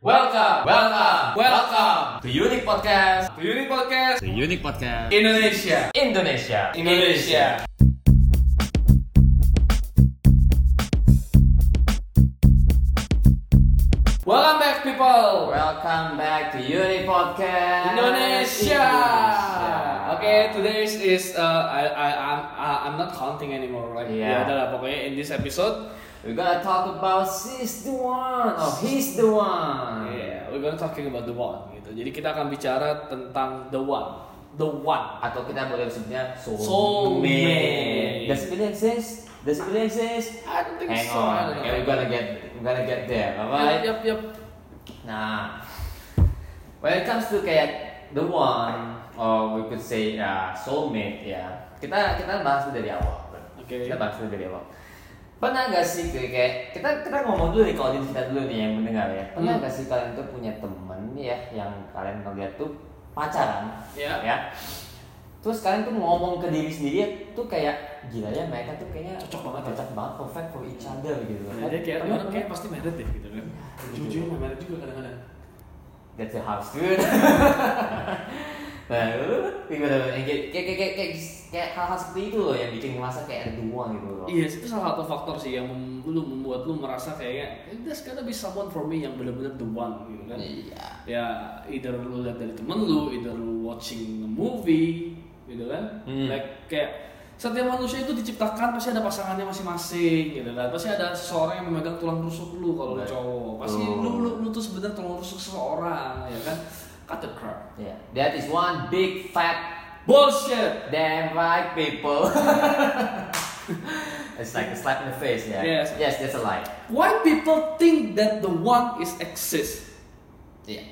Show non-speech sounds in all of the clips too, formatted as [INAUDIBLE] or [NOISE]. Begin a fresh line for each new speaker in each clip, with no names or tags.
Welcome, welcome, welcome to Unique Podcast, to Unique Podcast, to Unique Podcast Indonesia, Indonesia, Indonesia. Welcome back people,
Welcome back to Uni Podcast
Indonesia.
Indonesia.
Okay, today is- is uh, I I I'm I- I'm not counting anymore. Like
Yeah.
ya udah lah pokoknya in this episode,
We're gonna talk about she's the one Oh, he's the one
yeah, we're gonna talking about the one gitu. Jadi kita akan bicara tentang the one, the one.
Atau kita boleh sebutnya soulmate
Soulmate.
Does it exist? Does it exist?
I don't think
Hang on,
so. I don't know.
okay, we're gonna get, we're gonna get there,
Yap,
alright?
yap, yap.
Nah, when it comes to kayak the one, or we could say uh, soulmate ya. Kita kita bahas dulu dari awal. Bro.
Oke.
Kita bahas dulu dari awal. Pernah gak sih kayak, kayak- kita kita ngomong dulu nih kalau audiens kita dulu nih yang mendengar ya. Pernah
Hmm.
gak sih kalian tuh punya temen ya yang kalian ngeliat tuh pacaran
Ya.
ya? Terus kalian tuh ngomong ke diri sendiri tuh kayak gila ya mereka tuh kayaknya
Cocok banget ya."
cocok banget perfect for each other gitu.
Nah, dia kayak
Pernah-
orang kayak pasti merit deh gitu kan. Jujur mah merit juga kadang-kadang.
That's your house dude. [LAUGHS] nah, lu gimana Bang? kayak kayak kayak kayak kayak hal-hal seperti itu loh yang bikin merasa kayak ada dua gitu loh.
Iya, itu salah satu faktor sih yang mem- lu membuat lu merasa kayak that's gonna be someone for me yang benar-benar the one gitu kan.
Iya.
Ya either lu lihat dari temen lu, either lu watching a movie gitu kan.
Hmm.
Like kayak setiap manusia itu diciptakan pasti ada pasangannya masing-masing gitu kan. Pasti ada seseorang yang memegang tulang rusuk lu kalau lu
Betul.
cowok. Pasti lu lu, lu tuh sebenarnya tulang rusuk seseorang ya kan. Cut the crap.
Iya. That is one big fat
Bullshit.
damn right people. [LAUGHS] it's like a slap in the face, yeah.
Yes.
Yes, that's a lie.
Why people think that the one is exist?
Iya.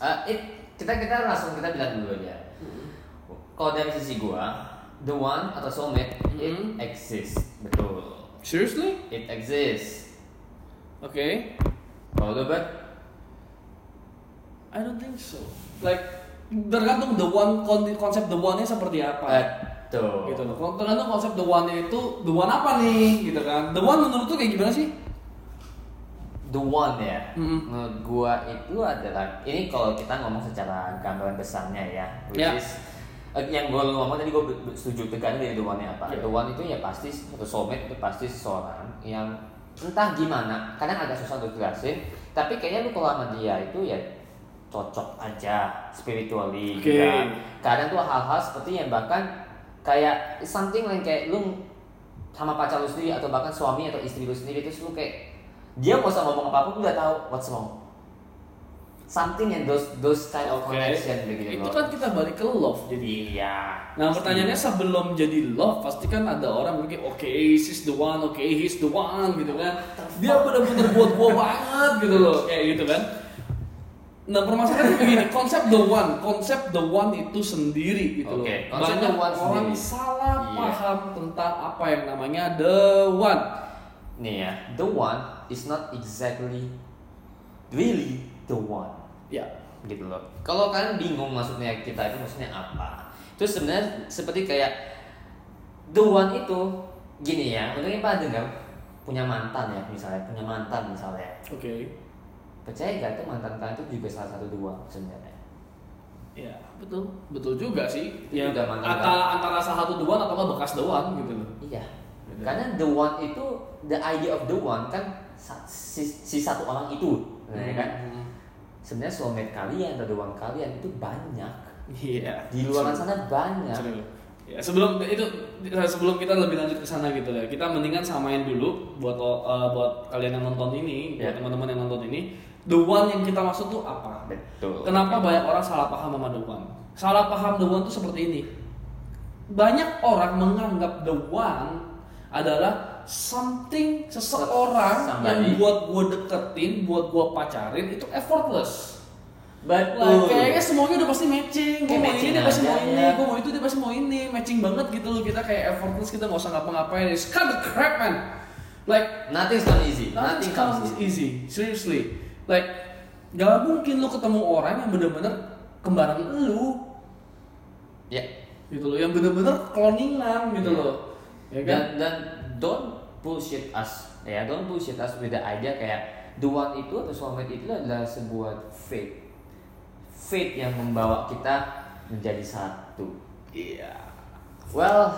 Eh, it, kita kita langsung kita bilang dulu aja. Kalau dari sisi gua, the one atau soulmate
Mhm.
it exists, betul.
Seriously?
It exists.
Oke.
Kalau lu bet,
I don't think so. Like tergantung the one kon- konsep the one-nya
Eh.
seperti apa.
Betul.
Gitu loh. Kon- Tergantung konsep the one-nya itu the one apa nih gitu kan. The one menurut tuh kayak gimana sih?
The one ya.
Mm-mm.
Menurut gua itu adalah ini kalau kita ngomong secara gambaran besarnya ya, which
Ya.
is eh, yang gua lu ngomong tadi gua be- be- setuju tekan dari the one-nya apa.
Ya.
The one itu ya pasti atau soulmate itu pasti seseorang yang entah gimana, kadang agak susah untuk jelasin, tapi kayaknya lu kalau sama dia itu ya cocok aja spiritually
Oke.
juga. Iya. kadang tuh hal-hal seperti yang bahkan kayak something lain kayak lu sama pacar lu sendiri atau bahkan suami atau istri lu sendiri terus lu kayak dia nggak usah ngomong apapun lu udah tahu what's wrong something and those those kind of connection begitu
Itu
loh.
kan kita balik ke love jadi.
iya
Nah pertanyaannya sebelum jadi love pasti kan ada orang mungkin oke she's the one, oke he's the one gitu kan. Dia benar-benar buat gua banget gitu loh kayak gitu kan. Nah permasalahannya begini konsep the one, konsep the one itu sendiri gitu
Oke,
loh.
konsep
Banyak
the one
orang
sendiri.
salah
Iya.
paham tentang apa yang namanya the one.
nih ya the one is not exactly really the one
Ya.
gitu loh. Kalau kalian bingung maksudnya kita itu maksudnya apa? Terus sebenarnya seperti kayak the one itu gini ya, untungnya pada dengar punya mantan ya misalnya, punya mantan misalnya.
Oke.
Percaya gak tuh mantan kalian itu juga salah satu the one sebenarnya?
Ya betul betul juga sih.
Itu
Ya
juga mantap.
antara antara salah satu the one atau nggak bekas the one gitu loh.
Iya.
Betul.
Karena the one itu the idea of the one kan sa- si, si satu orang itu, ya kan?
Hmm.
Sebenarnya soulmate kalian atau the one kalian itu banyak.
Iya.
Di luar sana banyak.
Serius. Ya, sebelum itu eh, sebelum kita lebih lanjut ke sana gitu ya. Kita mendingan samain dulu buat lo- eh, buat kalian yang nonton ini, buat
Ya.
teman-teman yang nonton ini, the one yang kita maksud tuh apa?
Betul.
Kenapa banyak orang salah paham sama the one? Salah paham the one tuh seperti ini. Banyak orang menganggap the one adalah something seseorang
Somebody.
yang buat gue deketin, buat gue pacarin itu effortless. Lah,
Betul.
kayaknya semuanya udah pasti matching. Gue
Kayak
mau
matching
ini, dia pasti
aja,
mau ini.
ya.
Gue mau itu, dia pasti mau ini. Matching banget gitu loh. Kita kayak effortless, kita nggak usah ngapa-ngapain. It's kind of crap, man. Like,
Nothing's not easy.
nothing comes easy. Seriously. Like, gak mungkin lu ketemu orang yang bener-bener kembaran lu.
Ya.
Gitu loh. Yang bener-bener kloningan gitu
Iya.
loh. Ya kan?
Dan dan don't bullshit us. Ya, don't bullshit us with the idea kayak the one itu atau soulmate itu adalah sebuah fate fate yang membawa kita menjadi satu
Iya.
well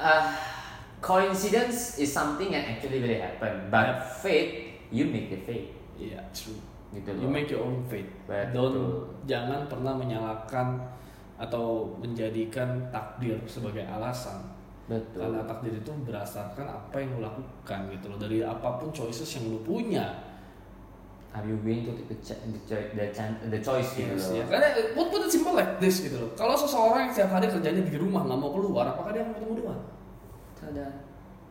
uh, coincidence is something yang actually really happen but fate you make the fate
Iya, true.
gitu
You
loh
make your own fate.
Betul.
Don't jangan pernah menyalahkan atau menjadikan takdir sebagai alasan.
betul
Karena takdir itu berdasarkan apa yang lo lakukan gitu loh. Dari apapun choices yang lo punya.
Are you willing to take the, ch- the, cho- the, chan- the choice gitu
Yes,
loh?
ya. Karena put put it simple like this gitu loh. Kalau seseorang yang setiap hari kerjanya di rumah nggak mau keluar, apakah dia akan ketemu Tuhan?
Tada.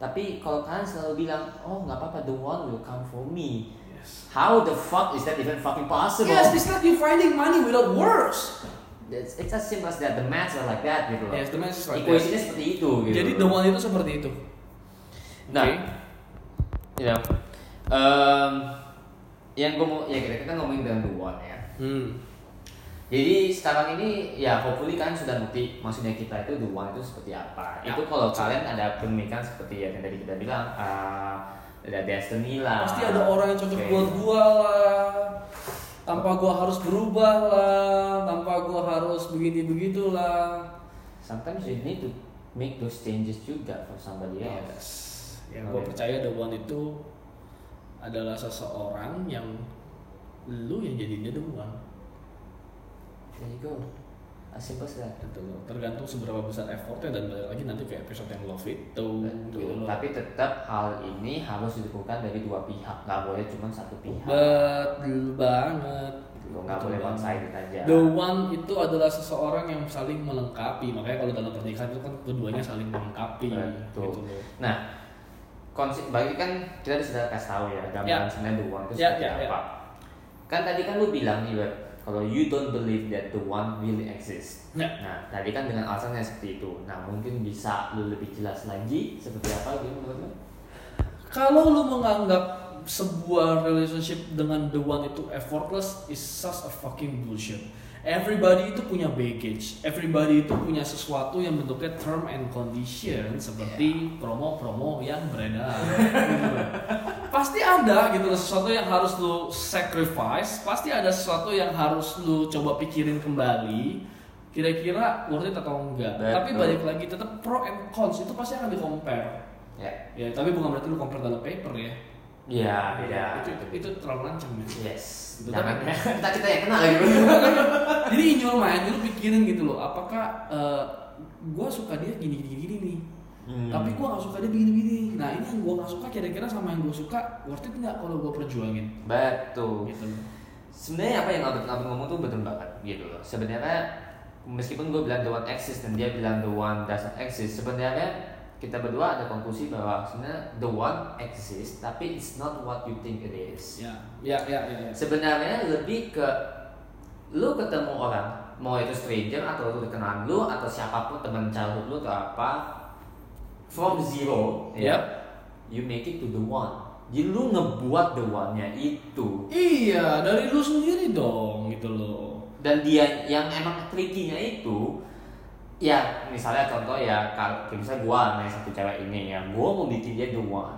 Tapi kalau kalian selalu bilang, oh nggak apa-apa, the one will come for me.
Yes.
How the fuck is that even fucking possible?
Yes, it's like you finding money without words.
It's, it's as simple as that. The maths are like that gitu loh.
Yes, the message is like that.
Equation-nya seperti itu gitu.
Jadi the one itu seperti itu.
Nah,
Oke.
you know, um, yang gue mau, ya kita kan ngomongin tentang the one ya.
Hmm.
Jadi sekarang ini ya hopefully kalian sudah ngerti maksudnya kita itu the one itu seperti apa.
Ya.
Itu kalau kalian ada pemikiran seperti yang tadi kita bilang ah, ada destiny lah.
Pasti ada orang yang
Ah.
cocok
Oke.
buat gua lah. Tanpa gua harus berubah lah, tanpa gua harus begini begitulah.
Sometimes you need to make those changes juga for somebody else.
Yes. Yang gua
Oke.
percaya the one itu adalah seseorang yang lu yang jadinya the one.
There you go. As simple as that.
Gitu loh. Tergantung seberapa besar effortnya dan balik lagi nanti ke episode yang love itu. gitu
Betul.
loh.
Tapi tetap hal ini harus didukungkan dari dua pihak. Gak boleh cuma satu pihak.
Betul banget.
Lo nggak boleh one sided aja.
The one itu adalah seseorang yang saling melengkapi. Makanya kalau dalam pernikahan itu kan keduanya saling melengkapi.
Betul.
Gitu loh.
Nah, konsep bagi kan kita sudah kasih tahu ya gambaran
Ya.
sebenarnya the one itu
Ya,
seperti
ya, ya.
apa. Kan tadi kan lu bilang nih Web, kalau you don't believe that the one really exist.
Ya.
Nah, tadi kan dengan alasannya seperti itu. Nah, mungkin bisa lu lebih jelas lagi seperti apa gitu menurut lu?
Kalau lu menganggap sebuah relationship dengan the one itu effortless is such a fucking bullshit. Everybody itu punya baggage. Everybody itu punya sesuatu yang bentuknya term and condition seperti promo-promo yang beredar. [LAUGHS] Gitu loh. pasti ada gitu loh sesuatu yang harus lu sacrifice, pasti ada sesuatu yang harus lu coba pikirin kembali. Kira-kira worth it atau enggak.
Betul.
Tapi balik lagi tetap pro and cons itu pasti akan di compare.
Ya.
Ya, tapi bukan berarti lu compare dalam paper ya.
Iya, beda.
Itu, itu, itu terlalu lancang ya.
Yes.
Itu
Jangan
kan-
[LAUGHS] kita kita yang kena gitu.
[LAUGHS] Jadi in your mind lu pikirin gitu loh, apakah eh, gua suka dia gini gini gini nih.
Hmm.
Tapi gua gak suka dia begini begini. Nah, ini yang gua gak suka kira-kira sama yang gua suka worth it nggak kalau gua perjuangin?
Betul.
Gitu loh.
sebenarnya apa yang Albert Albert ngomong tuh betul banget gitu loh sebenarnya meskipun gue bilang the one exists dan dia bilang the one doesn't exist sebenarnya kita berdua ada konklusi bahwa sebenarnya the one exists tapi it's not what you think it is
Ya, ya, ya, ya. ya.
sebenarnya lebih ke lu ketemu orang mau itu stranger atau lu kenalan lu atau siapapun teman childhood lu atau apa from zero ya
Yep.
you make it to the one jadi lu ngebuat the one-nya itu
Iya, dari lu sendiri dong gitu loh.
dan dia yang emang trikinya itu ya misalnya contoh ya kalau kayak misalnya gua sama yang satu cewek ini ya gua mau bikin dia the one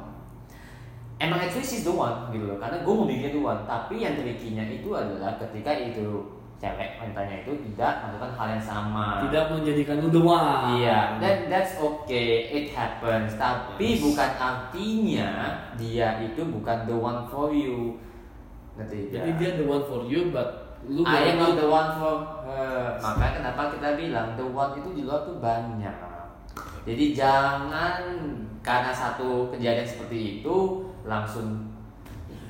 emang actually she's the one gitu loh karena gua mau bikin dia the one tapi yang trikinya itu adalah ketika itu cewek wanitanya itu tidak melakukan hal yang sama
Tidak menjadikan lu the one.
Ah. Iya, that, that's okay, it happens. Tapi
Yes.
bukan artinya dia itu bukan the one for you. Ngerti? ya?
Jadi dia the one for you, but lu
I am
baru-
not the one for her. Makanya kenapa kita bilang the one itu di luar tuh banyak. Jadi jangan karena satu kejadian seperti itu langsung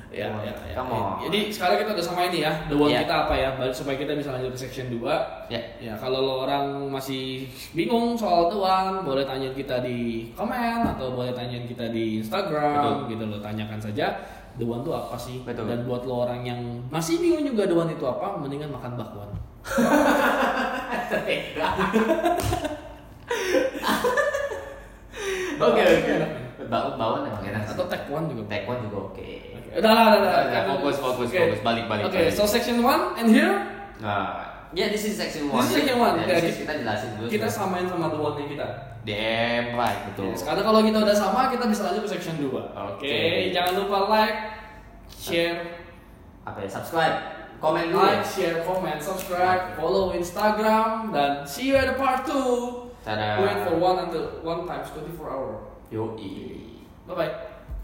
Ya, ya, ya.
Come on.
Jadi sekarang kita udah sama ini ya, the one
Ya.
kita apa ya, baru supaya kita bisa lanjut ke section 2.
ya
Ya, kalau lo orang masih bingung soal the one, boleh tanyain kita di komen atau boleh tanyain kita di Instagram gitu lo tanyakan saja the one itu apa sih?
Betul.
Dan buat lo orang yang masih bingung juga the one itu apa, mendingan makan bakwan. Ya.
[LAUGHS] Oke oke. Bau bauan emang enak.
Atau tekwan juga.
Taekwondo juga oke.
Oke, Udah lah, udah lah.
Udah, Fokus fokus
Oke.
fokus balik balik.
Oke,
balik.
so section 1 and here
Nah, ya this is section one.
This is section one.
Ya,
Ya,
this is kita jelasin dulu.
kita
sama.
samain sama the one-nya kita.
Damn right betul.
Yes, karena kalau kita udah sama, kita bisa lanjut ke section 2. Oke,
Oke.
jangan lupa like, share,
apa ya subscribe komen dulu
Like, share, comment, subscribe, follow Instagram, dan see you at the part 2.
Tada.
Wait for one until one times 24 hour.
yoi
Bye bye.